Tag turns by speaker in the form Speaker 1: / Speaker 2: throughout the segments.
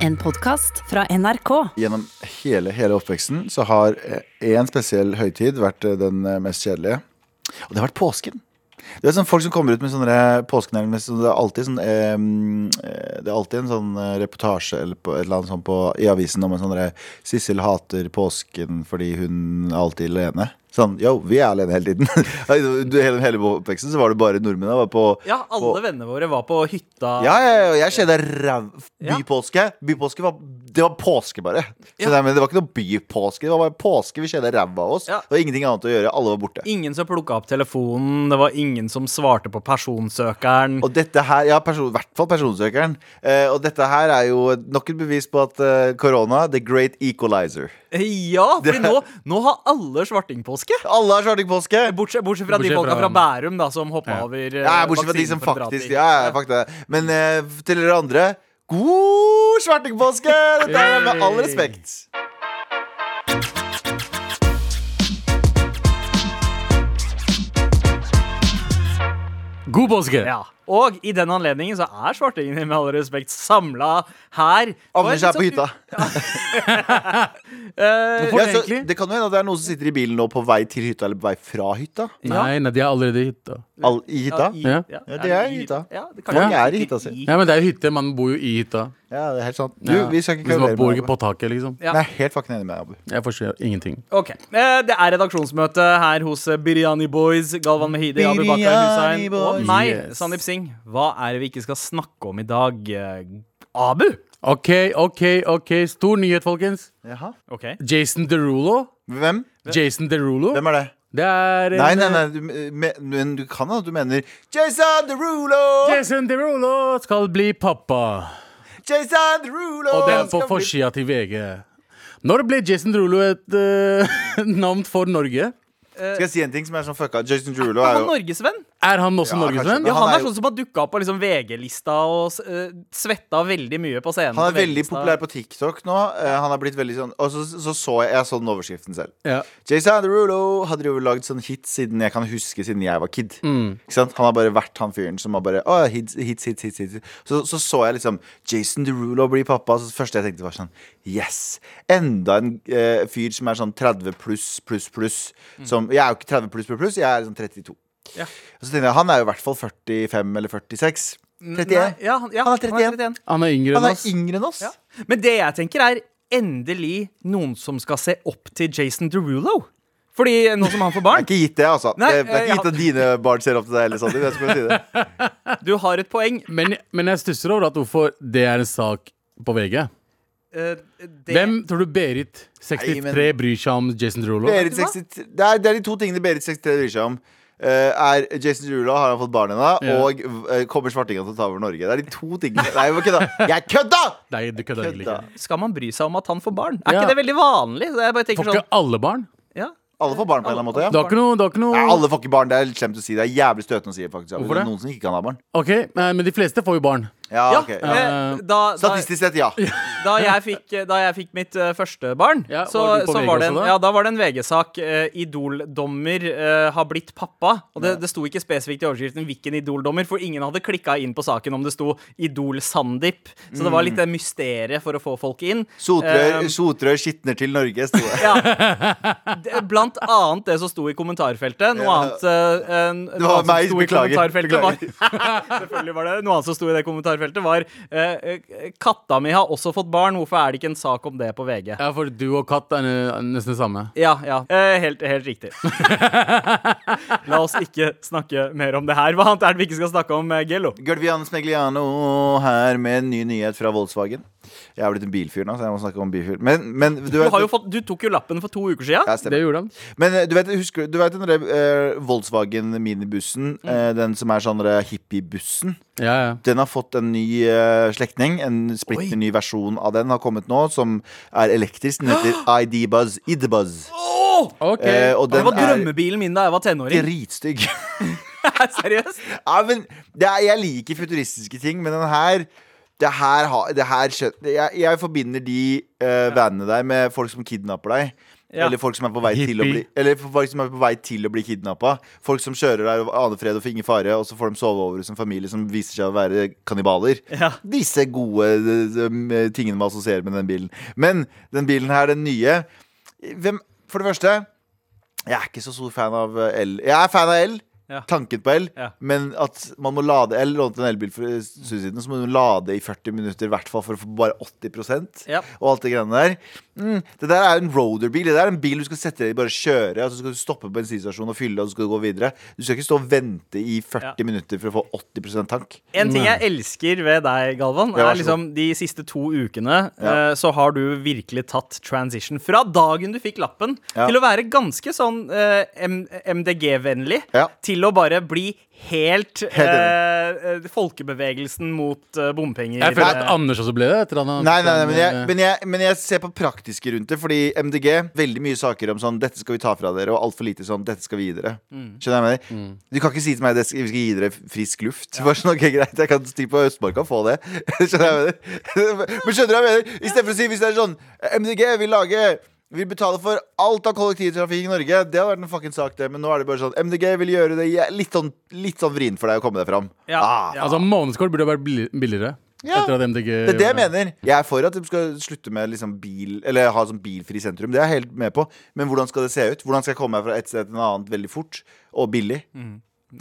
Speaker 1: En podkast fra NRK.
Speaker 2: Gjennom hele, hele oppveksten så har én spesiell høytid vært eh, den eh, mest kjedelige. Og det har vært påsken. Det er sånn Folk som kommer ut med sånne påskenærmer så Det er alltid sånn eh, eh, Det er alltid en sånn eh, reportasje eller på, et eller annet sånt på, i avisen om en sånn derre Sissel hater påsken fordi hun er alltid alene. Sånn, Yo, vi er alene hele tiden. Altså, Du, hele, hele oppveksten så var det bare nordmenn. da, Var på,
Speaker 3: Ja, alle
Speaker 2: på,
Speaker 3: vennene våre var på hytta.
Speaker 2: ja, ja, ja, jeg skjedde ræv
Speaker 3: Ja.
Speaker 2: bypåske. Bypåske var, Det var påske, bare. Så
Speaker 3: Ja.
Speaker 2: nei, men det var ikke noe bypåske. Det var bare påske vi skjedde ræva av oss.
Speaker 3: Ja.
Speaker 2: Det var ingenting annet å gjøre. Alle var borte.
Speaker 3: Ingen som plukka opp telefonen, det var ingen som svarte på personsøkeren.
Speaker 2: Og dette her, ja, person, i hvert fall personsøkeren. Eh, og dette her er jo nok et bevis på at eh, korona, the great equalizer.
Speaker 3: Eh, Ja, for nå, nå har alle svartingpåske.
Speaker 2: Alle har svarting påske!
Speaker 3: Bortsett, bortsett fra de
Speaker 4: Bortsett
Speaker 3: folka
Speaker 4: fra-
Speaker 3: fra Bærum da, som hoppa
Speaker 4: Ja.
Speaker 3: over eh,
Speaker 2: Ja, bortsett fra de
Speaker 3: vaksinen
Speaker 2: som
Speaker 3: for å dra
Speaker 2: faktisk
Speaker 3: til-
Speaker 2: Ja, ja, fuck det. Men eh, til dere andre, god svartingpåske! Dette er med all respekt.
Speaker 4: God påske!
Speaker 3: Ja. Og i den anledningen så er svartingene med all respekt samla her.
Speaker 2: Anders er på hytta.
Speaker 3: sånn Eh,
Speaker 2: Ja,
Speaker 4: det
Speaker 2: så,
Speaker 4: egentlig?
Speaker 2: det kan jo hende at det er noen som sitter i bilen nå på vei til hytta eller på vei fra hytta.
Speaker 4: Nei, nei, de er allerede i hytta.
Speaker 2: All, I hytta.
Speaker 3: i-
Speaker 4: Ja.
Speaker 2: Ja, det er i hytta.
Speaker 3: Ja, det
Speaker 2: Ja.
Speaker 3: kanskje
Speaker 2: Jeg er i hytta si.
Speaker 4: Ja, men det er jo hytte. Man bor jo i hytta.
Speaker 2: Ja, det er helt sant. Du,
Speaker 4: Ja.
Speaker 2: vi skal ikke
Speaker 4: Hvis man
Speaker 2: kverulere
Speaker 4: bor ikke
Speaker 2: med
Speaker 4: på taket, liksom.
Speaker 3: Ja.
Speaker 2: Abu. Nei, jeg er helt fucking enig med deg, Abu.
Speaker 4: Jeg forstår ingenting.
Speaker 3: Ok, eh, Det er redaksjonsmøte her hos eh, Biryani Boys. Galvan Mehidi, Abu Bakar
Speaker 2: Biryani
Speaker 3: Hussein og
Speaker 2: Boys.
Speaker 3: meg,
Speaker 4: Yes.
Speaker 3: Sandeep Singh. Hva er det vi ikke skal snakke om i dag? eh, Abu?
Speaker 4: OK, OK, OK. Stor nyhet, folkens.
Speaker 2: Jaha.
Speaker 3: Ok
Speaker 4: Jason Derulo.
Speaker 2: Hvem?
Speaker 4: Jason Derulo.
Speaker 2: Hvem er det?
Speaker 4: Det er en,
Speaker 2: Nei, nei, nei, du, me, men du kan at du mener Jason Derulo!
Speaker 4: eh, Jason Derulo skal bli pappa.
Speaker 2: Jason Derulo!
Speaker 4: Og det er på
Speaker 2: skal bli-
Speaker 4: forsida til VG. Når ble Jason Derulo et eh, navn for Norge?
Speaker 2: Skal jeg si en ting som er sånn fucka? Jason Derulo
Speaker 3: Er
Speaker 2: er
Speaker 3: han
Speaker 2: jo
Speaker 3: norgesvenn?
Speaker 4: Er han også
Speaker 2: Ja,
Speaker 4: norgesvenn?
Speaker 2: kanskje.
Speaker 3: Ja,
Speaker 2: han
Speaker 3: han
Speaker 2: er
Speaker 3: er
Speaker 2: jo-
Speaker 3: sånn som har dukka opp på liksom VG-lista og eh, svetta veldig mye på scenen.
Speaker 2: han er
Speaker 3: på
Speaker 2: veldig
Speaker 3: VG-lista.
Speaker 2: populær på TikTok nå. Eh, Han er blitt veldig sånn Og så så, så jeg, jeg så den overskriften selv.
Speaker 4: Ja.
Speaker 2: Jason Derulo hadde jo lagd sånn hit siden jeg kan huske siden jeg var kid.
Speaker 3: Mm.
Speaker 2: Ikke sant? Han har bare vært han fyren som har bare Åh, hits, hits, hits, hits, hits. Så, så så jeg liksom Jason Derulo bli pappa. Så det første jeg tenkte, var sånn Yes! Enda en eh, fyr som er sånn 30 pluss, pluss, pluss. Som, jeg er jo ikke 30 pluss, pluss, pluss. Jeg er sånn 32.
Speaker 3: Mm. Ja.
Speaker 2: Og så tenkte jeg, han er jo i hvert fall 45 eller 46. 31.
Speaker 3: Nei, ja, han- ja,
Speaker 2: Han er 31.
Speaker 4: Han er yngre
Speaker 2: Han
Speaker 4: enn
Speaker 2: er
Speaker 4: oss.
Speaker 2: yngre enn oss.
Speaker 3: Ja. Men det jeg tenker er endelig noen som skal se opp til Jason Derulo. Fordi nå som han får
Speaker 2: Det er
Speaker 3: barn
Speaker 2: ikke gitt, det, altså.
Speaker 3: Nei,
Speaker 2: det, det er
Speaker 3: eh,
Speaker 2: ikke gitt at dine barn ser opp til deg heller, Sandeep. Jeg skulle si det.
Speaker 3: Du har et poeng.
Speaker 4: Men, men jeg stusser over at hvorfor det er en sak på VG.
Speaker 3: Eh, det,
Speaker 4: Hvem tror du Berit, 63,
Speaker 2: Nei, men-
Speaker 4: bryr seg om Jason Derulo?
Speaker 2: Berit
Speaker 3: Vet du hva?
Speaker 2: 63 det er, det er de to tingene Berit 63 bryr seg om. Eh, er Jason Derulo, har han fått barn ennå?
Speaker 4: Ja.
Speaker 2: Og eh, kommer svartinga til å ta over Norge? Det er de to tingene Nei, jeg kødda! Jeg kødda!
Speaker 4: Nei, du kødder egentlig
Speaker 2: kødda!
Speaker 4: ikke.
Speaker 3: skal man bry seg om at han får barn? Er
Speaker 4: Ja.
Speaker 3: ikke det veldig vanlig? Så jeg bare tenker
Speaker 4: Får ikke
Speaker 3: sånn
Speaker 4: alle barn?
Speaker 3: ja.
Speaker 2: Alle får barn på en eller annen måte,
Speaker 4: Det
Speaker 2: ja.
Speaker 4: har ikke noe, det har ikke
Speaker 2: Nei,
Speaker 4: noe...
Speaker 2: alle får ikke barn. Det er litt slemt å si. Det er jævlig støtende å si det, faktisk.
Speaker 4: Hvorfor
Speaker 2: Det
Speaker 4: det?
Speaker 2: er noen som ikke kan ha barn.
Speaker 4: Ok, eh, men de fleste får jo barn.
Speaker 2: Ja,
Speaker 3: Ja,
Speaker 2: Ah, ok.
Speaker 3: eh, da, da,
Speaker 2: Statistisk sett, ja.
Speaker 3: da, jeg fikk, da jeg fikk mitt eh, første barn,
Speaker 4: Ja,
Speaker 3: så,
Speaker 4: var du på
Speaker 3: så
Speaker 4: VG
Speaker 3: var det en,
Speaker 4: også da?
Speaker 3: ja, da var det en VG-sak. eh, Idol-dommer eh, har blitt pappa. Og det, det sto ikke spesifikt i overskriften hvilken Idol-dommer, for ingen hadde klikka inn på saken om det sto Idol-Sandeep. Så det var litt det mysteriet for å få folk inn.
Speaker 2: Sotrør,
Speaker 3: Eh,
Speaker 2: sotrør skitner til Norge, sto det.
Speaker 3: ja. Det- Blant annet det som sto i kommentarfeltet. Noe
Speaker 2: Ja.
Speaker 3: annet eh, en-
Speaker 2: var
Speaker 3: noe annet som
Speaker 2: meg,
Speaker 3: sto i
Speaker 2: beklager,
Speaker 3: kommentarfeltet Var, selvfølgelig var det Noe annet som sto i det kommentarfeltet, var eh, eh, Katta mi har også fått barn, hvorfor er det ikke en sak om det på VG?
Speaker 4: Ja, for du og katt er eh, nesten det samme.
Speaker 3: Ja, ja. Eh, helt, helt riktig. La oss ikke snakke mer om det her. Hva annet er det vi ikke skal snakke om, eh, Gello?
Speaker 2: Gulvian Smegliano her med en ny nyhet fra Volkswagen. Jeg er blitt en bilfyr nå, så jeg må snakke om bilfyr. Men, men du,
Speaker 3: Du,
Speaker 2: vet-
Speaker 3: har jo fått, du tok jo lappen for to uker sia.
Speaker 2: Ja, stemmer.
Speaker 4: Det gjorde han.
Speaker 2: Men eh, du vet, husker, du- du vet den der, eh, Volkswagen minibussen, eh, den som er sånn der hippiebussen.
Speaker 4: Ja, ja.
Speaker 2: Den har fått en ny eh, slektning. En splitter ny versjon av den har kommet nå, som er elektrisk. Den heter ID Buzz. ID Buzz.
Speaker 4: Ok.
Speaker 2: Eh, og
Speaker 3: Det
Speaker 2: den
Speaker 3: var
Speaker 2: er
Speaker 3: drømmebilen min da jeg var tenåring.
Speaker 2: dritstygg.
Speaker 3: Seriøst?
Speaker 2: ja, men det er, jeg liker futuristiske ting, men den her det her, har- det her skjøn- jeg, jeg forbinder de eh, vanene der med folk som kidnapper deg.
Speaker 3: Ja.
Speaker 2: Eller folk som er på vei til å bli
Speaker 4: Hippie.
Speaker 2: Eller folk som er på vei til å bli kidnappa. Folk som kjører der og aner fred og får ingen fare, og så får de sove over hos en familie som viser seg å være kannibaler.
Speaker 3: Ja.
Speaker 2: Disse gode eh, eh, tingene man assosierer med den bilen. Men den bilen her, den nye hvem, For det første, jeg er ikke så stor fan av eh, el. Jeg er fan av el.
Speaker 3: Ja.
Speaker 2: Tanken på el.
Speaker 3: Ja.
Speaker 2: Men at man må lade el. Lånte en elbil for eh, stund siden, så må du lade i 40 minutter i hvert fall for å få bare 80
Speaker 3: Ja.
Speaker 2: og alt det greiene der. Mm, det der er jo en roaderbil. Det der er en bil du skal sette deg i, bare kjøre, og så skal du stoppe på bensinstasjonen og fylle, og så skal du gå videre. Du skal ikke stå og vente i 40
Speaker 3: Ja.
Speaker 2: minutter for å få 80 tank.
Speaker 3: En ting jeg elsker ved deg, Galvan,
Speaker 2: Ja, vær
Speaker 3: er
Speaker 2: så
Speaker 3: liksom de siste to ukene
Speaker 2: Ja.
Speaker 3: eh, så har du virkelig tatt transition fra dagen du fikk lappen,
Speaker 2: Ja.
Speaker 3: til å være ganske sånn eh, M- MDG-vennlig,
Speaker 2: Ja.
Speaker 3: til å bare bli helt
Speaker 2: Helt
Speaker 3: eh, eh, folkebevegelsen mot eh, bompenger.
Speaker 4: Jeg føler at
Speaker 3: Eh,
Speaker 4: Anders også ble det. Etter han
Speaker 2: Nei, nei, nei men, jeg, men, jeg, men jeg ser på praktiske rundt det. Fordi MDG, veldig mye saker om sånn 'dette skal vi ta fra dere', og altfor lite sånn 'dette skal vi gi dere'.
Speaker 3: Mm.
Speaker 2: Skjønner jeg med deg? Du kan ikke si til meg at vi skal gi dere frisk luft. Bare sånn, ok, greit, jeg kan stikke på Østmarka og få det. Skjønner jeg med deg? Men skjønner du hva jeg mener? Istedenfor å si hvis det er sånn 'MDG vil lage vil betale for alt av kollektivtrafikk i Norge. Det hadde vært en fucking sak, det. Men nå er det bare sånn MDG vil gjøre det jæ- litt sånn, litt sånn vrient for deg å komme deg fram.
Speaker 3: Ja,
Speaker 2: Ah.
Speaker 3: ja.
Speaker 4: Altså, Månedskort burde vært billi- billigere.
Speaker 2: Ja.
Speaker 4: Etter at MDG
Speaker 2: Det er det jeg mener. Eh, Jeg er for at de skal slutte med liksom bil Eller ha sånn bilfri sentrum. Det er jeg helt med på. Men hvordan skal det se ut? Hvordan skal jeg komme meg fra et sted til et annet veldig fort? Og billig?
Speaker 3: eh,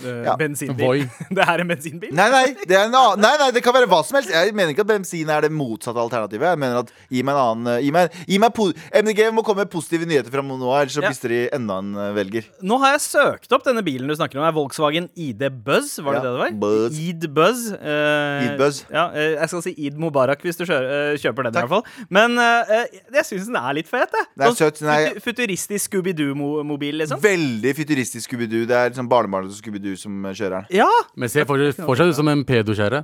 Speaker 2: Ja.
Speaker 3: Bensinbil.
Speaker 4: Voi.
Speaker 3: det er en bensinbil.
Speaker 2: Nei, nei, det er en annen Nei, nei, det kan være hva som helst. Jeg mener ikke at bensin er det motsatte alternativet. Jeg mener at gi meg en annen eh, Gi meg, gi meg po MDG må komme med positive nyheter fra nå av, ellers så
Speaker 3: Ja.
Speaker 2: mister de enda en eh, velger.
Speaker 3: Nå har jeg søkt opp denne bilen du snakker om. er Volkswagen ID Buzz. Var
Speaker 2: Ja,
Speaker 3: det det det var?
Speaker 2: Buzz.
Speaker 3: ID Buzz. eh,
Speaker 2: Eid Buzz.
Speaker 3: Ja, eh, jeg skal si Eid Mubarak hvis du kjører, eh, kjøper den. i
Speaker 2: Takk.
Speaker 3: hvert fall Men eh, eh, jeg syns den er litt fet. jeg.
Speaker 2: Den er
Speaker 3: Sånn
Speaker 2: søt, den er-
Speaker 3: futu- Futuristisk Scooby-Doo-mobil, liksom.
Speaker 2: Veldig futuristisk Scooby-Doo. Det er liksom barnebarnet til Scooby-Doo som eh, kjører den.
Speaker 3: Ja!
Speaker 4: Men ser for- fortsatt ut som en pedoskjære.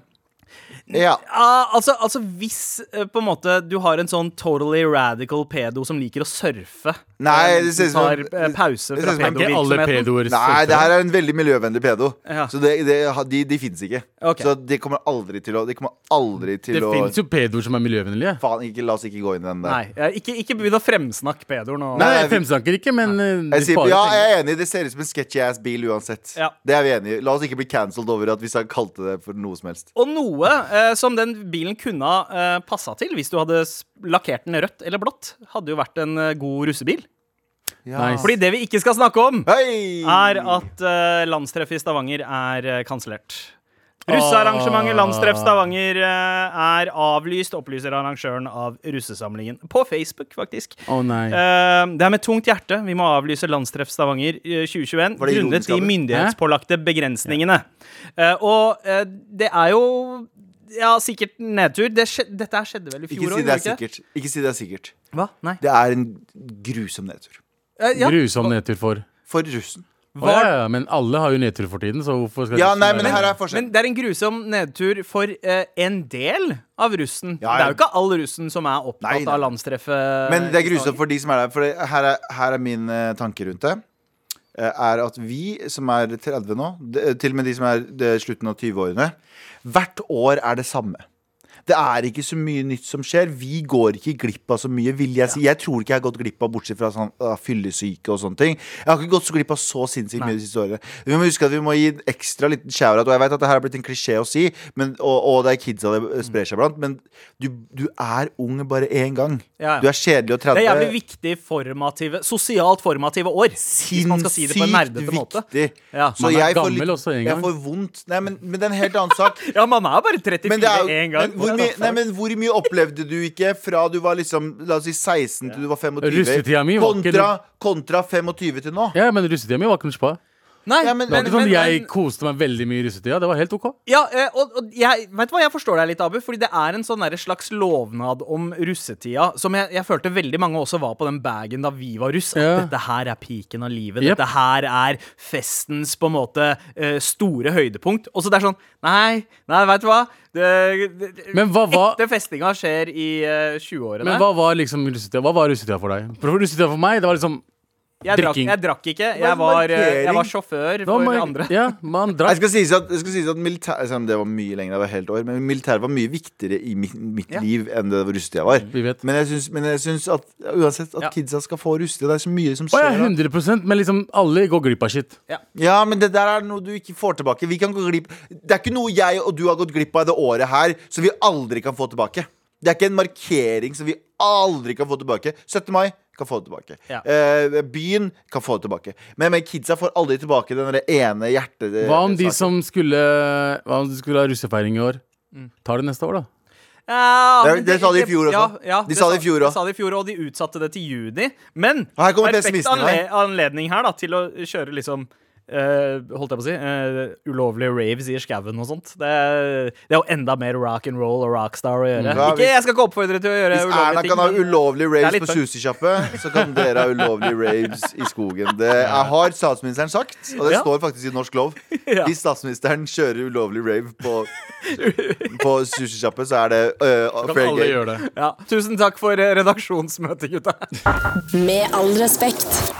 Speaker 2: Ja.
Speaker 3: Ah, altså, altså hvis eh, på en måte du har en sånn totally radical pedo som liker å surfe
Speaker 2: Nei,
Speaker 3: eh,
Speaker 2: det ser ut som-
Speaker 3: tar, eh, Pause
Speaker 2: det ser
Speaker 3: fra
Speaker 2: ut som-
Speaker 4: Ikke alle
Speaker 3: pedovirksomheten.
Speaker 4: pedoer
Speaker 2: Nei, det her er en veldig miljøvennlig pedo.
Speaker 3: Ja.
Speaker 2: Så det, det, de, de fins ikke.
Speaker 3: Ok.
Speaker 2: Så de kommer aldri til å De kommer aldri til
Speaker 4: Det
Speaker 2: å
Speaker 4: fins jo pedoer som er miljøvennlige.
Speaker 2: Faen, ikke, la oss ikke gå inn i den der.
Speaker 3: Nei, eh, ikke, ikke begynn å fremsnakke pedoer nå.
Speaker 4: Nei,
Speaker 2: Nei, vi-
Speaker 4: Femstanker ikke, men eh, de
Speaker 2: Jeg sier,
Speaker 4: sparer
Speaker 2: ja,
Speaker 4: penger.
Speaker 2: jeg er enig, det ser ut som en sketchy ass bil uansett.
Speaker 3: Ja.
Speaker 2: Det er vi enig i. La oss ikke bli cancelled over at vi sa- kalte det for noe som helst.
Speaker 3: Og noe eh, som den bilen kunne ha eh, passa til hvis du hadde s- lakkert den rødt eller blått, hadde jo vært en eh, god russebil.
Speaker 4: Nice.
Speaker 3: Fordi det vi ikke skal snakke om,
Speaker 2: Hei!
Speaker 3: er at eh, landstreffet i Stavanger er eh, kansellert. Russearrangementet Landstreff Stavanger eh, er avlyst, opplyser arrangøren av russesamlingen. På Facebook, faktisk.
Speaker 4: Å nei.
Speaker 3: Eh, det er med tungt hjerte vi må avlyse Landstreff Stavanger eh, 2021
Speaker 2: Var det
Speaker 3: grunnet
Speaker 2: ironisk,
Speaker 3: de
Speaker 2: Abu?
Speaker 3: myndighetspålagte begrensningene. Eh, og eh, det er jo ja, sikkert nedtur. Det skje, dette her skjedde vel i
Speaker 2: Ikke
Speaker 3: fjor
Speaker 2: si
Speaker 3: òg?
Speaker 2: det er sikkert. Ikke si det er sikkert.
Speaker 3: Hva? Nei.
Speaker 2: Det er en grusom nedtur.
Speaker 3: Eh, ja.
Speaker 4: Grusom nedtur for.
Speaker 2: For russen.
Speaker 4: Å, ja, ja, men alle har jo nedtur for tiden, så hvorfor skal
Speaker 2: Ja,
Speaker 4: russen
Speaker 2: nei,
Speaker 4: være-
Speaker 2: men her er
Speaker 3: Men
Speaker 2: forskjellen.
Speaker 3: det er en grusom nedtur for eh, en del av russen.
Speaker 2: Ja, ja.
Speaker 3: Det er jo ikke all russen som er opptatt
Speaker 2: Nei, nei.
Speaker 3: av landstreffet.
Speaker 2: Men det er
Speaker 3: i
Speaker 2: grusomt
Speaker 3: Stavanger.
Speaker 2: for de som er der. For det, her, er, her er min eh, tanke rundt det. Eh, er at vi som er 30 nå, de, til og med de som er eh, slutten av 20-årene, hvert år er det samme. Det er ikke så mye nytt som skjer. Vi går ikke glipp av så mye, vil jeg si. Jeg tror ikke jeg har gått glipp av, bortsett fra sånn, ah, fyllesyke og sånne ting. Jeg har ikke gått så glipp av så sinnssykt mye de siste årene. Vi må huske at vi må gi en ekstra liten shout-out, og jeg vet at det her har blitt en klisjé å si, men, og, og det er kidsa det eh, sprer seg blant, men du, du er ung bare én gang.
Speaker 3: Ja, ja.
Speaker 2: Du er kjedelig og 30.
Speaker 3: Det er jævlig viktig formative, sosialt formative år. Hvis man skal si det på en nerdete måte.
Speaker 2: viktig.
Speaker 3: Ja.
Speaker 2: Så
Speaker 4: Man er
Speaker 2: jeg får
Speaker 4: gammel
Speaker 2: litt-
Speaker 4: også en
Speaker 2: Jeg
Speaker 4: gang.
Speaker 2: får vondt. Nei, men, men det er en helt annen sak.
Speaker 3: Ja, man er bare 34
Speaker 2: Men, det er jo,
Speaker 3: én gang.
Speaker 2: men, hvor mye, nei, men hvor mye opplevde du ikke fra du var liksom La oss si 16 til du var 25?
Speaker 4: Russetida mi var ikke
Speaker 2: kontra, kontra 25 til nå.
Speaker 4: Ja, men russetida mi var ikke noe spa.
Speaker 3: Nei,
Speaker 2: Ja, men-
Speaker 4: Det var
Speaker 3: men-
Speaker 4: ikke sånn
Speaker 3: men-
Speaker 4: at jeg
Speaker 3: men-
Speaker 4: koste meg veldig mye i russetida. Det var helt OK.
Speaker 3: Ja, eh, og, og jeg, vet du hva, jeg forstår deg litt, Abu, fordi det er en sånn derre slags lovnad om russetida som jeg, jeg følte veldig mange også var på den bagen da vi var russ. At
Speaker 4: Ja.
Speaker 3: dette her er piken av livet.
Speaker 4: Jep.
Speaker 3: Dette her er festens på en måte eh, store høydepunkt. Og så det er sånn Nei, nei, vet du hva? Det, det,
Speaker 4: Men hva var-
Speaker 3: Ekte festinga skjer i eh, 20-årene.
Speaker 4: Men hva var liksom russetida Hva var russetida for deg? For for russetida for meg, det var liksom
Speaker 3: Jeg drakk,
Speaker 4: Drikking.
Speaker 3: jeg drakk ikke. Jeg var, eh, jeg var sjåfør
Speaker 4: Da må
Speaker 3: for
Speaker 4: jeg-
Speaker 3: andre.
Speaker 4: Ja, man
Speaker 2: Jeg
Speaker 4: drakk.
Speaker 2: skal sies at, jeg skal sies at militær, selv om Det var mye lenger, det var et helt år Men militæret var mye viktigere i mitt, mitt
Speaker 3: Ja.
Speaker 2: liv Enn det hvor rustig jeg var
Speaker 4: Vi vet.
Speaker 2: Men jeg syns, men jeg syns at uansett at
Speaker 3: Ja.
Speaker 2: kidsa skal få rustig Det er så mye som
Speaker 4: Å
Speaker 2: skjer
Speaker 4: ja,
Speaker 2: da.
Speaker 4: 100 men liksom alle går glipp av shit.
Speaker 2: Ja, men det der er noe du ikke får tilbake Vi kan gå glipp Det er ikke noe jeg og du har gått glipp av i det året her Som vi aldri kan få tilbake Det er ikke en markering som vi aldri kan få tilbake 17. mai kan få det tilbake
Speaker 3: Ja.
Speaker 2: eh, Byen kan få det tilbake Men, men kidsa får aldri tilbake den der ene hjertet
Speaker 4: Hva om de som skulle Hva om de skulle ha russefeiring i år?
Speaker 3: Mm.
Speaker 4: Tar det neste år, da.
Speaker 3: Ja,
Speaker 2: Det-
Speaker 3: men
Speaker 2: det sa de i fjor også.
Speaker 3: Ja, ja,
Speaker 2: De sa det i fjor også.
Speaker 3: de sa det i fjor, og de utsatte det til juni. Men
Speaker 2: Og her kommer
Speaker 3: perfekt
Speaker 2: pessimisten her.
Speaker 3: anle- anledning her da, til å kjøre liksom eh, holdt jeg på å si eh, ulovlige raves i skauen og sånt. Det er, det er jo enda mer rock and roll og rockstar å gjøre.
Speaker 2: Mm. Ja,
Speaker 3: Ikke,
Speaker 2: hvis-
Speaker 3: jeg skal ikke oppfordre til å gjøre
Speaker 2: Hvis Erna
Speaker 3: ulovlige ting.
Speaker 2: kan ha
Speaker 3: men-
Speaker 2: ulovlige
Speaker 3: Det er
Speaker 2: raves
Speaker 3: litt
Speaker 2: på
Speaker 3: fun.
Speaker 2: sushikjappe, så kan dere ha ulovlige raves i skogen. Det er, har statsministeren sagt, og det
Speaker 3: Ja.
Speaker 2: står faktisk i norsk lov.
Speaker 3: Ja.
Speaker 2: Hvis statsministeren kjører ulovlig rave på, på sushikjappe, så er det øh, fair game.
Speaker 4: det.
Speaker 3: ja. Tusen takk for eh, redaksjonsmøtet, gutta.
Speaker 1: Med all respekt.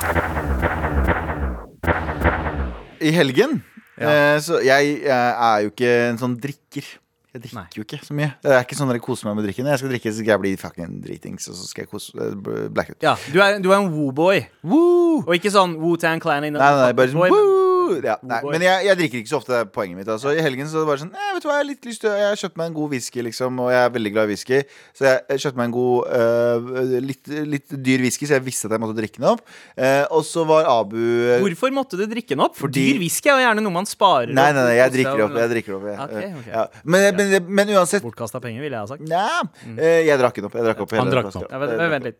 Speaker 2: I helgen eh, Så jeg, eh, er jo ikke en sånn drikker. Jeg drikker
Speaker 3: Nei.
Speaker 2: jo ikke så mye. Det er ikke sånn at jeg koser meg med drikken. Jeg skal drikke, så skal jeg bli fucking dritings, og så skal jeg kose eh, bl- blackout.
Speaker 3: Ja, du er, du er en woo-boy.
Speaker 2: Woo!
Speaker 3: Og ikke sånn Woo-Tan Clan. in the
Speaker 2: Nei, nei, nei, bare
Speaker 3: boy,
Speaker 2: sånn
Speaker 3: men-
Speaker 2: «Woo!» ja, nei,
Speaker 3: boy.
Speaker 2: Men jeg, jeg drikker ikke så ofte, det er poenget mitt. Altså. I helgen så var det sånn «Eh, Vet du hva, jeg har litt lyst til å- Jeg har kjøpt meg en god whisky, liksom, og jeg er veldig glad i whisky. Så jeg, jeg kjøpte meg en god, øh, litt, litt dyr whisky, så jeg visste at jeg måtte drikke den opp. Eh, og så var Abu øh,
Speaker 3: Hvorfor måtte du drikke den opp?
Speaker 2: Fordi-
Speaker 3: Dyr whisky er jo gjerne noe man sparer.
Speaker 2: Nei, nei, nei, jeg
Speaker 3: opp.
Speaker 2: drikker det opp. Jeg drikker det opp jeg, øh,
Speaker 3: Ok, ok.
Speaker 2: Ja. Men, men, men uansett
Speaker 3: Bortkasta penger, ville jeg ha sagt.
Speaker 2: Nja,
Speaker 3: Mm.
Speaker 2: eh, jeg drakk den opp. Jeg drakk opp
Speaker 4: Han
Speaker 2: hele
Speaker 4: drakk den
Speaker 2: flaska.
Speaker 3: Ja, vent,
Speaker 2: Jeg drakk
Speaker 3: vent litt.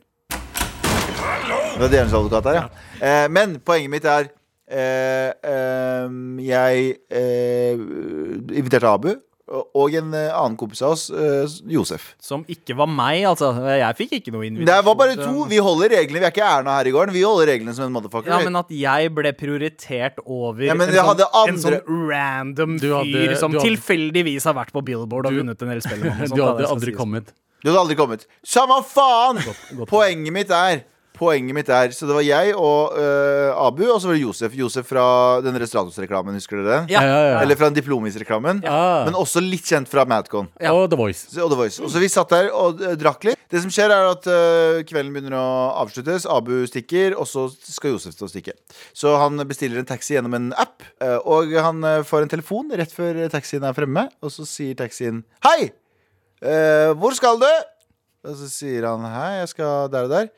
Speaker 2: Det var djevelens advokat her, ja. Eh, men poenget mitt er eh, eh, Jeg eh, inviterte Abu og- og en eh, annen kompis av oss, eh, Josef.
Speaker 3: Som ikke var meg, altså. Jeg fikk ikke noe invitasjon.
Speaker 2: Det var bare to. Vi holder reglene. Vi er ikke Erna her i gården. Vi holder reglene som en motherfucker.
Speaker 3: Ja, men at jeg ble prioritert over
Speaker 2: Ja, men
Speaker 3: en,
Speaker 2: jeg
Speaker 3: sånn,
Speaker 2: hadde
Speaker 3: en sånn
Speaker 2: andre-
Speaker 3: random
Speaker 4: Du hadde-
Speaker 3: fyr som
Speaker 4: du hadde-
Speaker 3: tilfeldigvis har vært på Billboard og vunnet en hel spellemann. og sånt,
Speaker 4: Du
Speaker 3: da, det
Speaker 4: hadde
Speaker 3: skal
Speaker 4: aldri
Speaker 3: sies.
Speaker 4: kommet.
Speaker 2: Du hadde aldri kommet. Samme faen!
Speaker 3: godt.
Speaker 2: Poenget mitt er Poenget mitt er Så det var jeg og eh, Abu, og så var det Josef. Josef fra den Restauratos-reklamen, husker dere den?
Speaker 3: Ja.
Speaker 4: Ja, ja, ja.
Speaker 2: Eller fra Diplomis-reklamen.
Speaker 4: Ja.
Speaker 2: Men også litt kjent fra Madcon.
Speaker 4: Og The Voice.
Speaker 2: Så- Og The Voice. Og så vi satt der og eh, drakk litt. Det som skjer, er at eh, kvelden begynner å avsluttes. Abu stikker, og så skal Josef til å stikke. Så han bestiller en taxi gjennom en app, eh, og han eh, får en telefon rett før taxien er fremme, og så sier taxien Hei! Eh, hvor skal du? Og så sier han Hei, jeg skal der og der.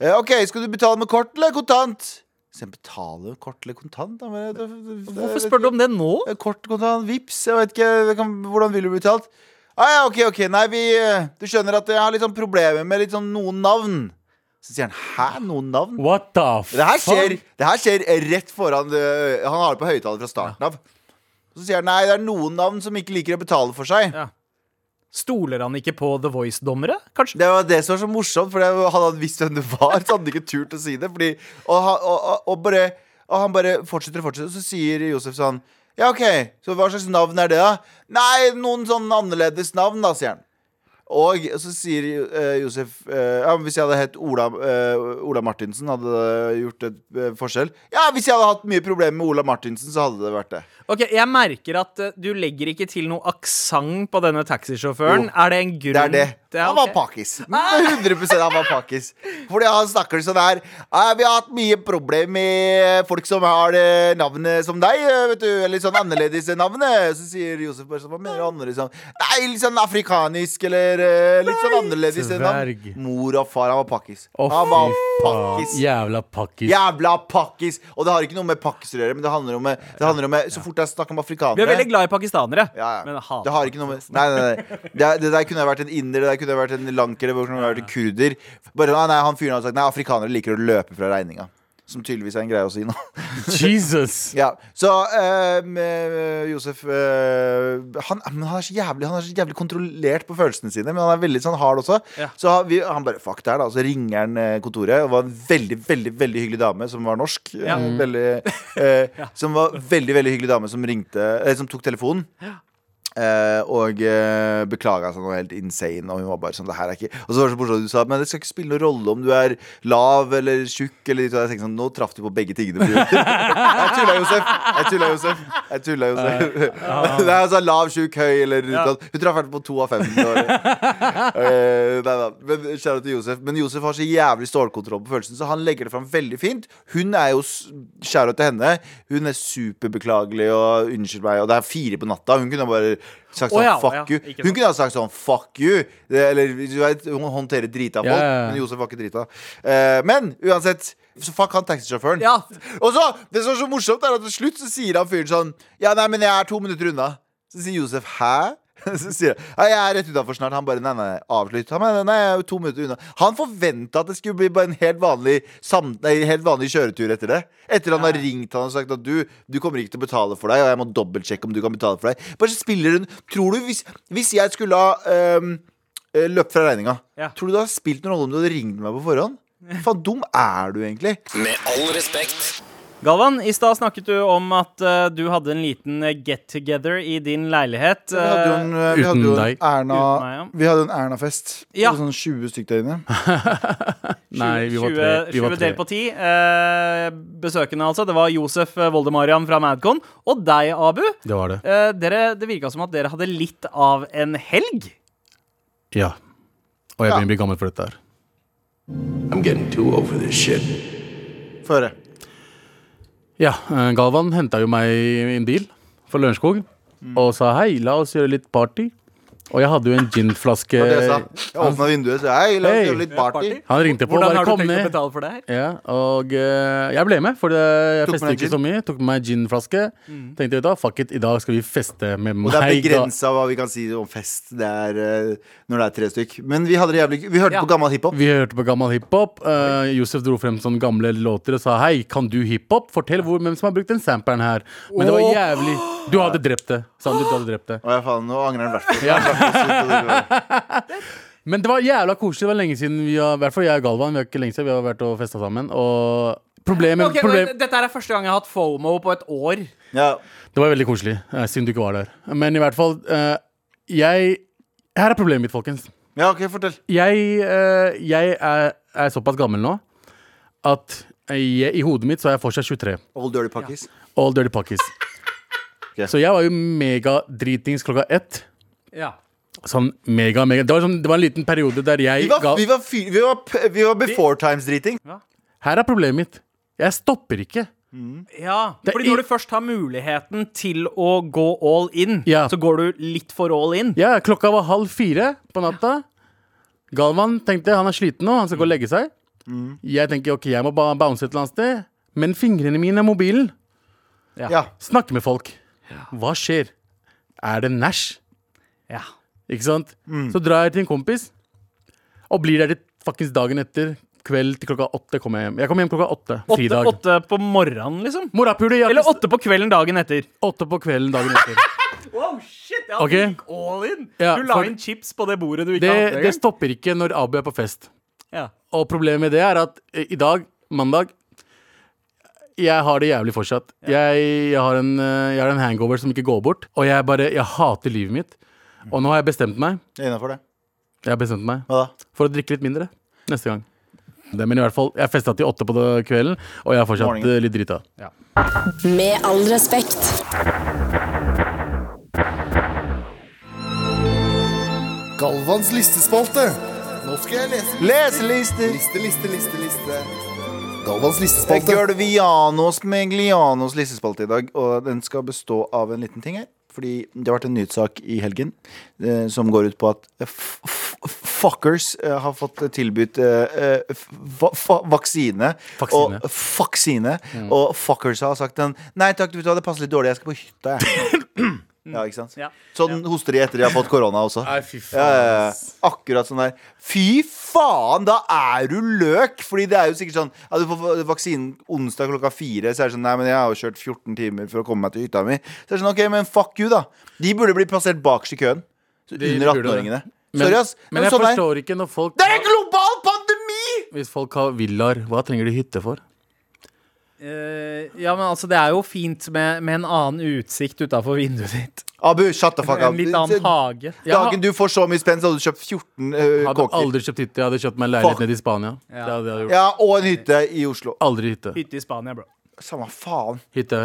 Speaker 2: «Eh, ok, skal du betale med kort eller kontant? Så han betaler med kort eller kontant? Da, men, det, det, det,
Speaker 3: Hvorfor spør du om det nå?
Speaker 2: Eh, Kort kontant, vips, jeg vet ikke jeg kan, Hvordan vil du bli talt? Ah, ja, ok, ok, nei, vi eh, Du skjønner at jeg har litt sånn problemer med litt sånn noen navn Så sier han, hæ, noen navn?
Speaker 4: What the fuck?
Speaker 2: Det her skjer, det her skjer rett foran eh, Han har det på høyttaler fra starten av Så sier han, nei, det er noen navn som ikke liker å betale for seg
Speaker 3: Ja. Stoler han ikke på The Voice-dommere, kanskje?
Speaker 2: Det var det som var så morsomt, for hadde han visst hvem det var, så hadde han ikke turt å si det. Fordi, og, han- og, og, og, bare, og han bare fortsetter og fortsetter, og så sier Josef sånn Ja, OK, så hva slags navn er det, da? Nei, noen sånn annerledes navn, da, sier han. Og så sier eh, Josef eh, Ja, men Hvis jeg hadde hett Ola, eh, Ola Martinsen, hadde det gjort et eh, forskjell? Ja, hvis jeg hadde hatt mye problemer med Ola Martinsen, så hadde det vært det.
Speaker 3: Ok, Jeg merker at eh, du legger ikke til noe aksent på denne taxisjåføren. Er det en
Speaker 2: Det
Speaker 3: grunn
Speaker 2: er det.
Speaker 3: Ja,
Speaker 2: Han var
Speaker 3: ok. Ah.
Speaker 2: pakkis. 100 han var pakkis. Fordi han snakker sånn her «Eh, Vi har hatt mye problem med folk som har det navnet som deg, eh, vet du. Eller sånn annerledes navn. eh.» Så sier Josef bare sånn Hva mener du annerledes navn? Nei, litt sånn afrikanisk eller eh, litt sånn annerledes navn.
Speaker 4: Dverg.
Speaker 2: Mor og far, han var pakkis.
Speaker 4: Å,
Speaker 2: Han var
Speaker 4: fy faen.
Speaker 2: pakkis.
Speaker 4: Jævla pakkis.
Speaker 2: Jævla pakkis! Og det har ikke noe med pakkiser å gjøre, men det handler om, eh, det handler om Så fort det er snakk om
Speaker 3: Vi
Speaker 2: afrikanere
Speaker 3: er veldig glad i pakistanere,
Speaker 2: ja, ja.
Speaker 3: men hater
Speaker 2: det har ikke noe med Nei, nei, nei. Det, er- det der kunne vært en inder, det der kunne vært en lanker, det kunne vært en kurder. Bare, nei, nei, han fyren har sagt Nei, afrikanere liker å løpe fra regninga. Som tydeligvis er en greie å si nå.
Speaker 4: Jesus.
Speaker 2: Ja, Så eh, med, eh, Josef eh, han, men han, er så jævlig, han er så jævlig kontrollert på følelsene sine, men han er veldig sånn hard også.
Speaker 3: Ja.
Speaker 2: Så han- vi, han bare fuck det her, da. Så ringer han eh, kontoret, og var en veldig veldig, veldig hyggelig dame som var norsk. eh,
Speaker 3: Ja.
Speaker 2: Veldig, eh, Som var veldig, veldig hyggelig dame som ringte eh, Som tok telefonen. Eh, og eh, beklaga seg noe helt insane. Og hun var bare sånn, det her er ikke Og så var det så morsomt at du sa Men det skal ikke spille noen rolle om du er lav eller tjukk. Eller ditt og datt." jeg tenkte sånn, Nå traff du på begge tingene. jeg tulla, Josef. Jeg tulla, Josef. Jeg tulla, Josef.
Speaker 3: Eh,
Speaker 2: Nei, altså lav, tjukk, høy eller ditt og datt. Hun traff i hvert fall på to av fem. Det var- Eh, nei da. Men kjære til Josef Men Josef har så jævlig stålkontroll på følelsen, så han legger det fram veldig fint. Hun er jo s- Kjære til henne. Hun er superbeklagelig og unnskyld meg, og det er fire på natta. Hun kunne bare sagt
Speaker 3: Å
Speaker 2: sånn
Speaker 3: ja,
Speaker 2: fuck
Speaker 3: ja,
Speaker 2: you.
Speaker 3: ikke
Speaker 2: Hun
Speaker 3: sant.
Speaker 2: kunne ha sagt sånn fuck you. Det, eller du vet, hun håndterer drita folk,
Speaker 4: Ja, ja, ja.
Speaker 2: men Josef var ikke drita. Eh, men uansett, så fuck han taxisjåføren.
Speaker 3: Ja.
Speaker 2: Og så, det som er så morsomt er at til slutt så sier han fyren sånn Ja, nei, men jeg er to minutter unna Så sier Josef, hæ? Så sier han, ja, jeg er rett utenfor snart Han bare, nei, nei, avslutt Han bare, nei, jeg er jo to minutter unna Han forventet at det skulle bli bare en helt vanlig, sam nei, en helt vanlig kjøretur etter det Etter han har ringt han og sagt at du Du kommer ikke til å betale for deg Og jeg må dobbeltsjekke om du kan betale for deg Bare så spiller hun Tror du, hvis, hvis jeg skulle ha øhm, øh, løpt fra regninga
Speaker 3: Ja.
Speaker 2: Tror du det hadde spilt noen rolle om du hadde ringt meg på forhånd? Faen, dum er du egentlig
Speaker 5: Med all respekt.
Speaker 3: Galvan, i stad snakket du om at eh, du hadde en liten get-together i din leilighet.
Speaker 2: Vi hadde jo en, eh, vi hadde
Speaker 4: uten
Speaker 2: jo en
Speaker 4: deg.
Speaker 2: Erna
Speaker 3: Uten meg, ja.
Speaker 2: Vi hadde en Erna-fest. Det
Speaker 3: Ja.
Speaker 2: var Sånn 20 stykk der inne.
Speaker 4: Nei, vi var
Speaker 3: 20,
Speaker 4: tre. Vi var
Speaker 3: 20 del
Speaker 4: tre.
Speaker 3: på 10. Eh, besøkende, altså. Det var Josef eh, Voldemarian fra Madcon. Og deg, Abu.
Speaker 4: Det var det.
Speaker 3: Eh, dere, det virka som at dere hadde litt av en helg.
Speaker 4: Ja. Og jeg begynner å bli gammel for dette her.
Speaker 5: I'm getting too over this shit.
Speaker 2: Få høre.
Speaker 4: Ja, eh, Galvan henta jo meg i en bil fra Lørenskog
Speaker 2: Mm.
Speaker 4: og sa hei, la oss gjøre litt party. Og jeg hadde jo en ginflaske
Speaker 2: Det jeg sa. Jeg åpna vinduet, så hei, la oss
Speaker 4: Eh, Hei.
Speaker 2: gjøre litt party.
Speaker 3: Party.
Speaker 4: Han ringte på og
Speaker 3: Hvordan
Speaker 4: bare
Speaker 3: har du
Speaker 4: kom
Speaker 3: tenkt å
Speaker 4: ned.
Speaker 3: betale for det her?
Speaker 4: Ja, og eh, jeg ble med, for det, jeg
Speaker 2: Tok med
Speaker 4: festet
Speaker 2: deg Mm.
Speaker 4: ikke så mye. Tok med meg ginflaske. Tenkte vet du hva, fuck it, i dag skal vi feste med
Speaker 2: Og det er
Speaker 4: meg. da.
Speaker 2: begrensa hva vi kan si om fest det er, eh, når det er tre stykk. Men vi hadde det jævlig gøy. Vi hørte
Speaker 3: Ja.
Speaker 2: på gammel hiphop.
Speaker 4: Vi hørte på gammel hiphop. eh, Josef dro frem sånne gamle låter og sa hei, kan du hiphop? Fortell hvor, hvem som har brukt den samperen her. Men det var jævlig Du hadde drept det. Sa han, du hadde drept det.
Speaker 2: Å ja, faen, nå angrer han i hvert fall. Ja.
Speaker 4: Men det var jævla koselig. Det var lenge siden vi har, i hvert fall jeg og Galvan, vi har ikke lenge siden vi har vært og festa sammen. Og problemet,
Speaker 3: Ok, men
Speaker 4: problem,
Speaker 3: Dette her er første gang jeg har hatt FOMO på et år.
Speaker 2: Ja.
Speaker 4: Det var veldig koselig, eh, siden du ikke var der. Men i hvert fall, eh, jeg Her er problemet mitt, folkens.
Speaker 2: ja, OK, fortell.
Speaker 4: Jeg, eh, jeg er, er såpass gammel nå at jeg, i hodet mitt så er jeg fortsatt 23.
Speaker 2: Old Dirty Pockets.
Speaker 4: All dirty pockets.
Speaker 2: Ok.
Speaker 4: Så jeg var jo megadritings klokka ett.
Speaker 3: Ja.
Speaker 4: Sånn mega, mega det var, sånn, det var en liten periode der jeg
Speaker 2: Vi var,
Speaker 4: ga
Speaker 2: vi var, fy- vi var, p- vi var before times-driting.
Speaker 4: Her er problemet mitt. Jeg stopper ikke.
Speaker 3: Ja,
Speaker 4: Det er
Speaker 3: fordi når du
Speaker 4: i-
Speaker 3: først har muligheten til å gå all in,
Speaker 4: Ja.
Speaker 3: så går du litt for all in.
Speaker 4: Ja, klokka var halv fire på natta. Galvan tenkte han er sliten nå, han skal gå og legge seg.
Speaker 2: Mm.
Speaker 4: Jeg tenker ok, jeg må ba- bounce et eller annet sted. Men fingrene mine er mobilen.
Speaker 2: Ja.
Speaker 4: Snakke med folk. Hva skjer? Er det Nash?
Speaker 3: Ja.
Speaker 4: Ikke sant? Så drar jeg til en kompis, og blir der til fuckings dagen etter. Kveld til klokka åtte kommer jeg hjem. Jeg kommer hjem klokka åtte.
Speaker 3: Åtte,
Speaker 4: Fridag.
Speaker 3: åtte på morgenen, liksom.
Speaker 4: Morapule, jeg har
Speaker 3: Eller
Speaker 4: ikke-
Speaker 3: åtte på kvelden dagen etter.
Speaker 4: åtte på kvelden dagen etter.
Speaker 3: Wow, shit! Ja,
Speaker 4: Ok.
Speaker 3: Du gikk all in.
Speaker 4: Ja,
Speaker 3: du la
Speaker 4: for-
Speaker 3: inn chips på det bordet du ikke
Speaker 4: Det,
Speaker 3: hadde.
Speaker 4: det stopper ikke når Abu er på fest.
Speaker 3: ja.
Speaker 4: Og problemet med det er at eh, i dag, mandag Jeg har det jævlig fortsatt. Jeg, jeg, har en, eh, jeg har en hangover som ikke går bort. Og jeg bare, jeg hater livet mitt. Og nå har jeg bestemt meg
Speaker 2: Jeg er innafor det.
Speaker 4: Jeg har bestemt meg
Speaker 2: Hva da?
Speaker 4: for å drikke litt mindre neste gang. Det, men i hvert fall, jeg festa til åtte på det kvelden, og jeg er fortsatt
Speaker 2: Morgenen.
Speaker 4: eh, litt drita.
Speaker 1: Med all respekt.
Speaker 6: Galvans listespalte. Nå skal jeg lese
Speaker 2: Leselister!
Speaker 6: liste, liste, liste, liste. Galvans
Speaker 2: Det er
Speaker 6: listespalte.
Speaker 2: Gølvianos Meglianos listespalte i dag, og den skal bestå av en liten ting her. Fordi det har vært en nyhetssak i helgen eh, som går ut på at eh, f- f- fuckers eh, har fått tilbudt eh, eh, f- va fa- vaksine.
Speaker 4: Faksine.
Speaker 2: Og, faksine og fuckers har sagt den Nei takk, vet du hva, det passer litt dårlig, jeg skal på hytta, jeg. ja, ikke sant?
Speaker 3: Ja.
Speaker 2: Sånn hoster de etter de har fått korona også.
Speaker 4: Nei, fy faen,
Speaker 2: Ja, ja, ja.
Speaker 4: ass.
Speaker 2: Akkurat sånn der. Fy faen, da er du løk! Fordi det er jo sikkert sånn ja, Du får vaksinen onsdag klokka fire, så er det sånn Nei, men jeg har jo kjørt 14 timer for å komme meg til hytta mi. Så er det sånn, OK, men fuck you, da. De burde bli plassert bakerst i køen. Så
Speaker 4: De
Speaker 2: under
Speaker 4: burde det.
Speaker 2: 18-åringene.
Speaker 4: Men,
Speaker 2: Sorry, ass.
Speaker 4: men jeg
Speaker 2: sånn er-
Speaker 4: forstår ikke når folk
Speaker 2: Det er en global pandemi!
Speaker 4: Hvis folk har villaer, hva trenger de hytte for?
Speaker 3: Eh, ja, men altså, det er jo fint med, med en annen utsikt utafor vinduet ditt.
Speaker 2: Abu, shut the fuck up.
Speaker 3: En litt annen hage.
Speaker 2: Dagen du får så mye spenn, så hadde du kjøpt 14 eh,
Speaker 4: Hadde
Speaker 2: kåker.
Speaker 4: aldri kjøpt hytte. Jeg hadde kjøpt meg en
Speaker 2: Fuck.
Speaker 4: leilighet nede i Spania. Det hadde jeg gjort.
Speaker 2: Ja, og en hytte i Oslo.
Speaker 4: Aldri hytte.
Speaker 3: Hytte i Spania, bro.
Speaker 2: Samme faen.
Speaker 4: Hytte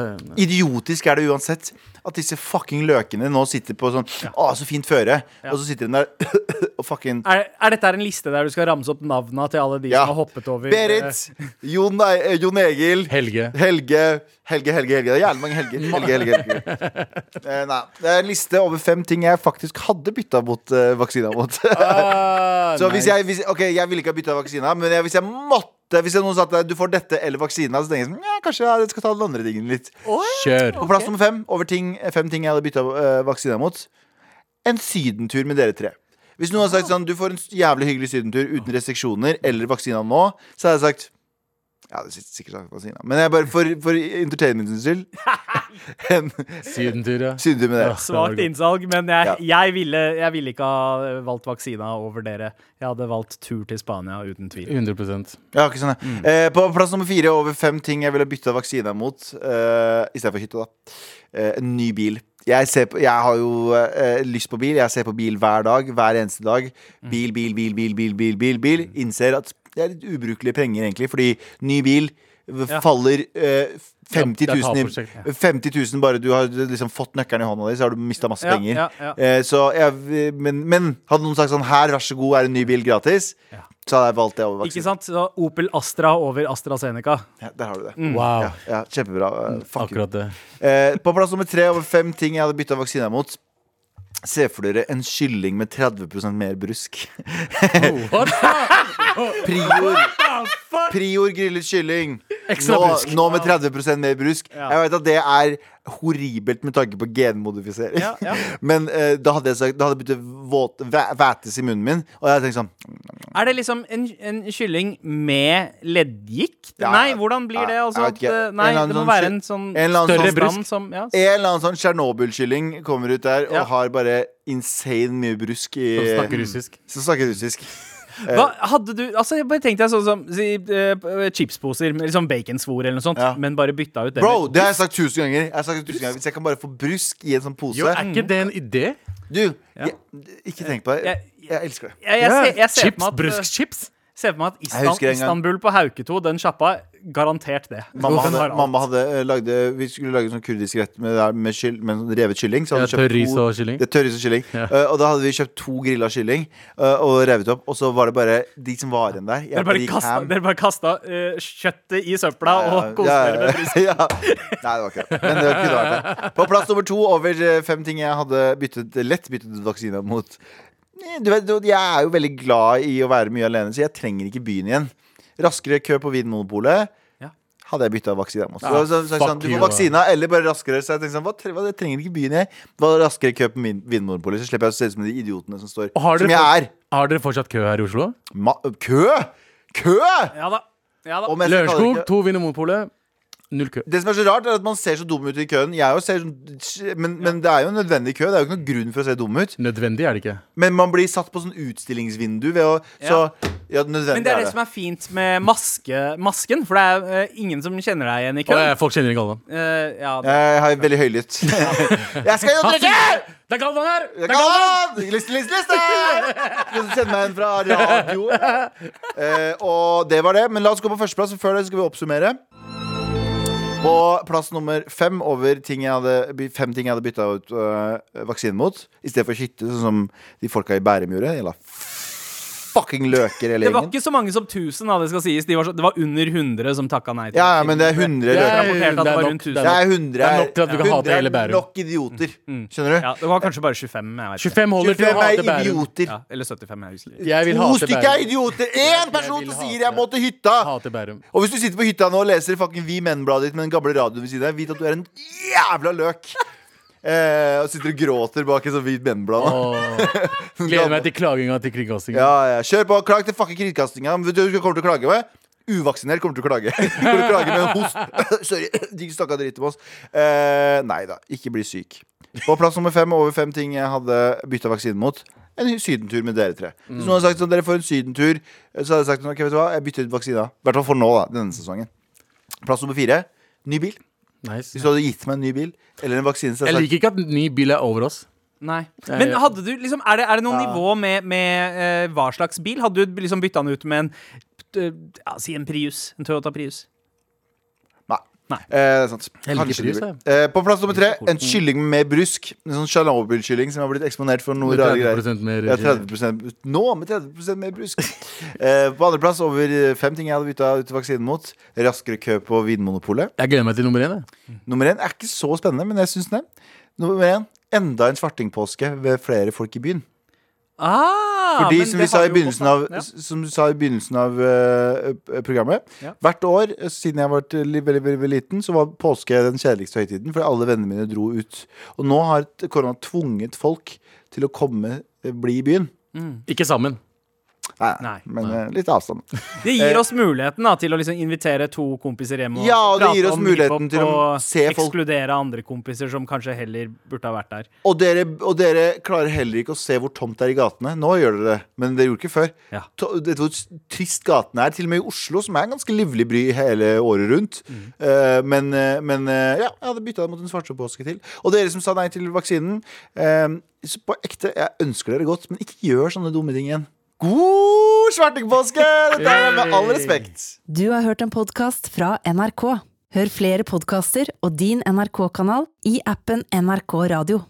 Speaker 2: Idiotisk er det uansett at disse fucking løkene nå sitter på sånn Å, så fint føre. Og så sitter den der og fucking
Speaker 3: Er, er dette her en liste der du skal ramse opp navna til alle de som har hoppet over?
Speaker 2: Berit, Jon, eh, Jon Egil,
Speaker 4: Helge.
Speaker 2: Helge, Helge, Helge, Helge. Det er jævlig mange helger. Helge, Helge, Helge. Eh, nei, det er en liste over fem ting jeg faktisk hadde bytta mot eh, vaksina mot. så hvis jeg, hvis, ok, jeg ville ikke ha bytta vaksina, men jeg, hvis jeg måtte Hvis jeg noen sa at eh, du får dette eller vaksina, så tenker jeg sånn, ja, kanskje jeg skal ta den andre tingen litt.
Speaker 4: Kjør.
Speaker 2: På plass nummer fem over ting, fem ting jeg hadde bytta vaksina mot. En sydentur med dere tre. Hvis noen hadde sagt sånn, du får en s- jævlig hyggelig sydentur uten restriksjoner eller vaksina nå, så hadde jeg sagt ja, det er sikkert- sikkert sagt vaksina, men jeg bare for, for entertainmentens skyld. En
Speaker 4: Sydentur, ja.
Speaker 2: sydentur med dere.
Speaker 3: Svakt innsalg, men jeg,
Speaker 2: Ja.
Speaker 3: jeg, ville, jeg ville ikke ha valgt vaksina over dere. Jeg hadde valgt tur til Spania, uten tvil.
Speaker 4: 100
Speaker 2: Ja, ikke sånn, ja.
Speaker 3: Mm.
Speaker 2: Eh, på plass nummer fire over fem ting jeg ville bytta vaksina mot, eh, istedenfor hytte, da. Eh, en ny bil. Jeg, ser på, jeg har jo eh, lyst på bil. Jeg ser på bil hver dag. Hver eneste dag.
Speaker 3: Mm.
Speaker 2: Bil, bil, bil, bil, bil, bil. bil, bil. Innser at det er litt ubrukelige penger, egentlig, fordi ny bil v-
Speaker 3: Ja.
Speaker 2: faller eh, 50
Speaker 4: Ja,
Speaker 2: 000,
Speaker 4: det er taperprosjekt,
Speaker 2: i, 50 000 bare du har liksom fått nøkkelen i hånda di, så har du mista masse
Speaker 3: Ja,
Speaker 2: penger.
Speaker 3: ja, ja.
Speaker 2: Eh, så jeg, men, men hadde noen sagt sånn her, vær så god, er en ny bil gratis, så hadde jeg valgt det over vaksine.
Speaker 3: Ikke sant? Så Opel Astra over AstraZeneca.
Speaker 2: Ja, der har du det.
Speaker 4: Wow.
Speaker 2: Ja, ja, kjempebra. Eh, Fuck you.
Speaker 4: Mm. Akkurat det.
Speaker 2: Eh, på plass nummer tre over fem ting jeg hadde bytta vaksine mot. Se for dere en kylling med 30 mer brusk. Prior, prior grillet kylling. Nå,
Speaker 4: brusk.
Speaker 2: nå med 30 mer brusk. Jeg vet at det er horribelt med tanke på genmodifisering.
Speaker 3: Ja, ja.
Speaker 2: Men eh, da hadde jeg sagt Da hadde jeg byttet våt- væ- vætes i munnen min, og jeg tenkte sånn
Speaker 3: Er det liksom en, en kylling med leddgikt?
Speaker 2: Ja,
Speaker 3: nei, hvordan blir
Speaker 2: ja,
Speaker 3: det? Altså,
Speaker 2: jeg vet
Speaker 3: at,
Speaker 2: ikke.
Speaker 3: eh, nei,
Speaker 2: En eller
Speaker 3: det må
Speaker 2: annen
Speaker 3: være en sånn
Speaker 2: sånn en eller annen
Speaker 4: større
Speaker 2: sånn-
Speaker 3: stand som ja,
Speaker 2: En eller annen sånn Tsjernobyl-kylling kommer ut der
Speaker 3: Ja.
Speaker 2: og har bare insane mye brusk i
Speaker 4: Som snakker russisk.
Speaker 2: Som snakker russisk.
Speaker 3: Hva hadde du Altså, jeg bare tenkte jeg sånn som si, eh, chipsposer, med liksom baconsvor eller noe sånt,
Speaker 2: Ja.
Speaker 3: men bare bytta ut det.
Speaker 2: Bro, det har jeg sagt tusen ganger. Jeg har sagt det tusen ganger Hvis jeg kan bare få brusk i en sånn pose
Speaker 4: Jo, er ikke det en idé?
Speaker 2: Du, jeg, ikke tenk på det.
Speaker 3: Jeg-
Speaker 2: Jeg, jeg elsker det.
Speaker 3: jeg, jeg,
Speaker 4: Ja.
Speaker 3: ser, jeg ser for
Speaker 4: Chips,
Speaker 3: meg at, eh,
Speaker 4: bruskchips.
Speaker 3: ser for meg at
Speaker 2: Jeg husker
Speaker 3: Istan,
Speaker 2: en gang-
Speaker 3: Istanbul på Hauketo, den sjappa, garantert det.
Speaker 2: Mamma
Speaker 3: Den
Speaker 2: hadde,
Speaker 3: har alt.
Speaker 2: mamma hadde eh, lagde, Vi skulle lage sånn kurdisk rett med, med, kyll, med sånn revet kylling. Så
Speaker 4: Ja,
Speaker 2: hadde vi kjøpt
Speaker 4: tørr ris
Speaker 2: to-
Speaker 4: og kylling.
Speaker 2: Det er tørr ris og kylling. Eh, og da hadde vi kjøpt to grilla kylling eh, og revet opp. Og så var det bare de som var igjen der. Jeg
Speaker 3: Dere bare
Speaker 2: gikk
Speaker 3: kasta,
Speaker 2: ham.
Speaker 3: dere bare kasta eh, kjøttet i søpla og koste dere med brus.
Speaker 2: ja. Nei, det var ikke det. Men det kunne vært det. På plass nummer to over eh, fem ting jeg hadde byttet, lett byttet ut vaksina mot. Eh, Du vet, du- jeg er jo veldig glad i å være mye alene, så jeg trenger ikke byen igjen. Raskere kø på Vinmonopolet.
Speaker 3: Ja.
Speaker 2: Hadde jeg bytta vaksina mot. Så,
Speaker 4: Ja,
Speaker 2: så, så,
Speaker 4: fuck
Speaker 2: sånn, du
Speaker 4: you,
Speaker 2: får vaksina eller bare raskere. Så jeg tenkte sånn, hva, tre- hva, jeg trenger ikke byen, jeg. Bare raskere kø på Vin- Vinmonopolet, så slipper jeg å se ut som de idiotene som står.
Speaker 4: Og har dere
Speaker 2: Som jeg er.
Speaker 4: fått- Har dere fortsatt kø her i Oslo?
Speaker 2: Ma kø! Kø!
Speaker 3: Ja da. Ja da.
Speaker 2: Og mest-
Speaker 4: Lørenskog, to vinner Monopolet. Null kø.
Speaker 2: Det som er så rart, er at man ser så dum ut i køen. Jeg jo ser sånn, men, men det er jo en nødvendig kø. Det er jo ikke noen grunn for å se dum ut.
Speaker 4: Nødvendig er det ikke.
Speaker 2: Men man blir satt på sånn utstillingsvindu ved å
Speaker 3: Ja.
Speaker 2: Så ja, nødvendig
Speaker 3: Men det er det som er fint med maske, masken, for det er eh, ingen som kjenner deg igjen i
Speaker 4: Å,
Speaker 3: køen.
Speaker 4: ja, folk kjenner ikke alle.
Speaker 3: Eh, ja, det-
Speaker 2: Jeg har veldig høylytt. jeg skal jo drikke!
Speaker 4: Det er Galvan her!
Speaker 2: Jeg kan! Liste, liste, liste! Skal du sende meg en fra radio? Eh, og det var det. Men la oss gå på førsteplass, og før det skal vi oppsummere. På plass nummer fem over ting jeg hadde, by- fem ting jeg hadde bytta ut øh, vaksinen mot. I stedet for hytte, sånn som de folka i Bærum gjorde. Jævla fucking løker hele
Speaker 3: Det
Speaker 2: gjengen.
Speaker 3: var ikke så mange som 1000, da, det skal sies. De var så, det var under 100 som takka nei
Speaker 2: Ja,
Speaker 3: til
Speaker 2: ja,
Speaker 3: vaksinen.
Speaker 2: men det er 100
Speaker 4: Det
Speaker 2: løker.
Speaker 4: er-
Speaker 3: Rapporterte at
Speaker 4: det
Speaker 3: det
Speaker 4: er
Speaker 3: var
Speaker 4: nok-
Speaker 3: rundt
Speaker 4: det
Speaker 3: 1000.
Speaker 2: Det er 100
Speaker 4: Det er nok til at du kan
Speaker 2: 100
Speaker 4: hate
Speaker 2: er
Speaker 4: hele Bærum.
Speaker 2: Nok idioter. Skjønner du?
Speaker 3: Ja, det var kanskje bare 25. Jeg vet ikke.
Speaker 4: 25 holder til å
Speaker 2: 25 er
Speaker 4: hate Bærum.
Speaker 2: idioter.
Speaker 3: Ja, eller 75, jeg husker ikke.
Speaker 4: Jeg vil
Speaker 2: To
Speaker 4: hate
Speaker 2: stykker er
Speaker 4: Bærum.
Speaker 2: idioter! Én person
Speaker 4: vil
Speaker 2: som
Speaker 4: hate-
Speaker 2: sier 'jeg må til hytta'!
Speaker 4: Hater Bærum.
Speaker 2: Og hvis du sitter på hytta nå og leser fucking Vi Menn-bladet ditt med den gamle radioen ved siden av, vit at du er en jævla løk. Eh, og sitter og gråter bak et sånt hvit menn-blad. nå.
Speaker 4: Åh, gleder meg til klaginga til kringkastingen.
Speaker 2: Ja, ja. Kjør på. Klag til fucking kringkastinga. Vet du hva du kommer til å klage med? Uvaksinert kommer til å klage. kommer til å klage med en host. Sorry. De snakka dritt om oss. Eh, nei da. Ikke bli syk. På plass nummer fem over fem ting jeg hadde bytta vaksine mot. En sydentur med dere tre. Hvis noen hadde sagt sånn, dere får en sydentur, eh, så hadde jeg sagt ok, vet du hva, jeg bytter ut vaksina. I hvert fall for nå, da. Denne sesongen. Plass nummer fire. Ny bil.
Speaker 4: Nice.
Speaker 2: Hvis du hadde gitt meg en ny bil eller en vaksine, så
Speaker 4: Jeg
Speaker 2: hadde jeg sagt
Speaker 4: liker ikke at ny bil er over oss.
Speaker 3: Nei. Men
Speaker 4: ja.
Speaker 3: hadde du liksom Er det, er det noe nivå med, med eh, hva slags bil? Hadde du liksom bytta den ut med en eh, ja, Si en Prius. En Toyota Prius.
Speaker 2: nei.
Speaker 3: Nei.
Speaker 2: Eh, det er sant.
Speaker 4: Jeg liker
Speaker 2: Kanskje
Speaker 4: brus,
Speaker 2: det blir.
Speaker 4: jeg.
Speaker 2: Eh, på plass nummer tre, en kylling med brusk. En sånn Tsjernobyl-kylling som har blitt eksponert for noe
Speaker 4: Med
Speaker 2: rare greier.
Speaker 4: 30% mer-
Speaker 2: ja, 30 Nå med 30 mer brusk. eh, på andreplass over eh, fem ting jeg hadde bytta ut vaksinen mot. Raskere kø på Vinmonopolet.
Speaker 4: Jeg gleder meg til nummer én. jeg.
Speaker 2: Nummer én er ikke så spennende, men jeg syns den er. Nummer én, enda en svartingpåske ved flere folk i byen.
Speaker 3: Ah,
Speaker 2: Fordi,
Speaker 3: men
Speaker 2: som,
Speaker 3: det
Speaker 2: vi sa i
Speaker 3: har vi jo
Speaker 2: begynnelsen av,
Speaker 3: fått, da. Ja.
Speaker 2: som du sa i begynnelsen av eh, eh, programmet
Speaker 3: Ja.
Speaker 2: Hvert år eh, siden jeg var til- li- veldig, veldig, veldig liten, så var påske den kjedeligste høytiden. Fordi alle vennene mine dro ut. Og nå har t- korona tvunget folk til å komme, eh, bli i byen.
Speaker 4: Ikke sammen.
Speaker 2: Nei,
Speaker 3: Nei.
Speaker 2: men eh, litt avstand.
Speaker 3: Det gir oss muligheten da, til å liksom invitere to kompiser hjem og
Speaker 2: eh, Ja, og det
Speaker 3: prate
Speaker 2: gir oss
Speaker 3: om
Speaker 2: muligheten
Speaker 3: hiphop
Speaker 2: til å
Speaker 3: og
Speaker 2: se folk-
Speaker 3: ekskludere andre kompiser som kanskje heller burde ha vært der.
Speaker 2: Og dere, og dere klarer heller ikke å se hvor tomt det er i gatene. Nå gjør dere det, men dere gjorde ikke før.
Speaker 3: Ja.
Speaker 2: To- Det er hvor trist gatene er, til og med i Oslo, som er en ganske livlig bry hele året rundt. Eh, men eh, men eh, ja, jeg hadde bytta det mot en svartepåske til. Og dere som sa nei til vaksinen, eh, så på ekte, jeg ønsker dere godt, men ikke gjør sånne dumme ting igjen. God svartingpåske! Dette er med all respekt.
Speaker 7: Du har hørt en podkast fra NRK. Hør flere podkaster og din NRK-kanal i appen NRK Radio.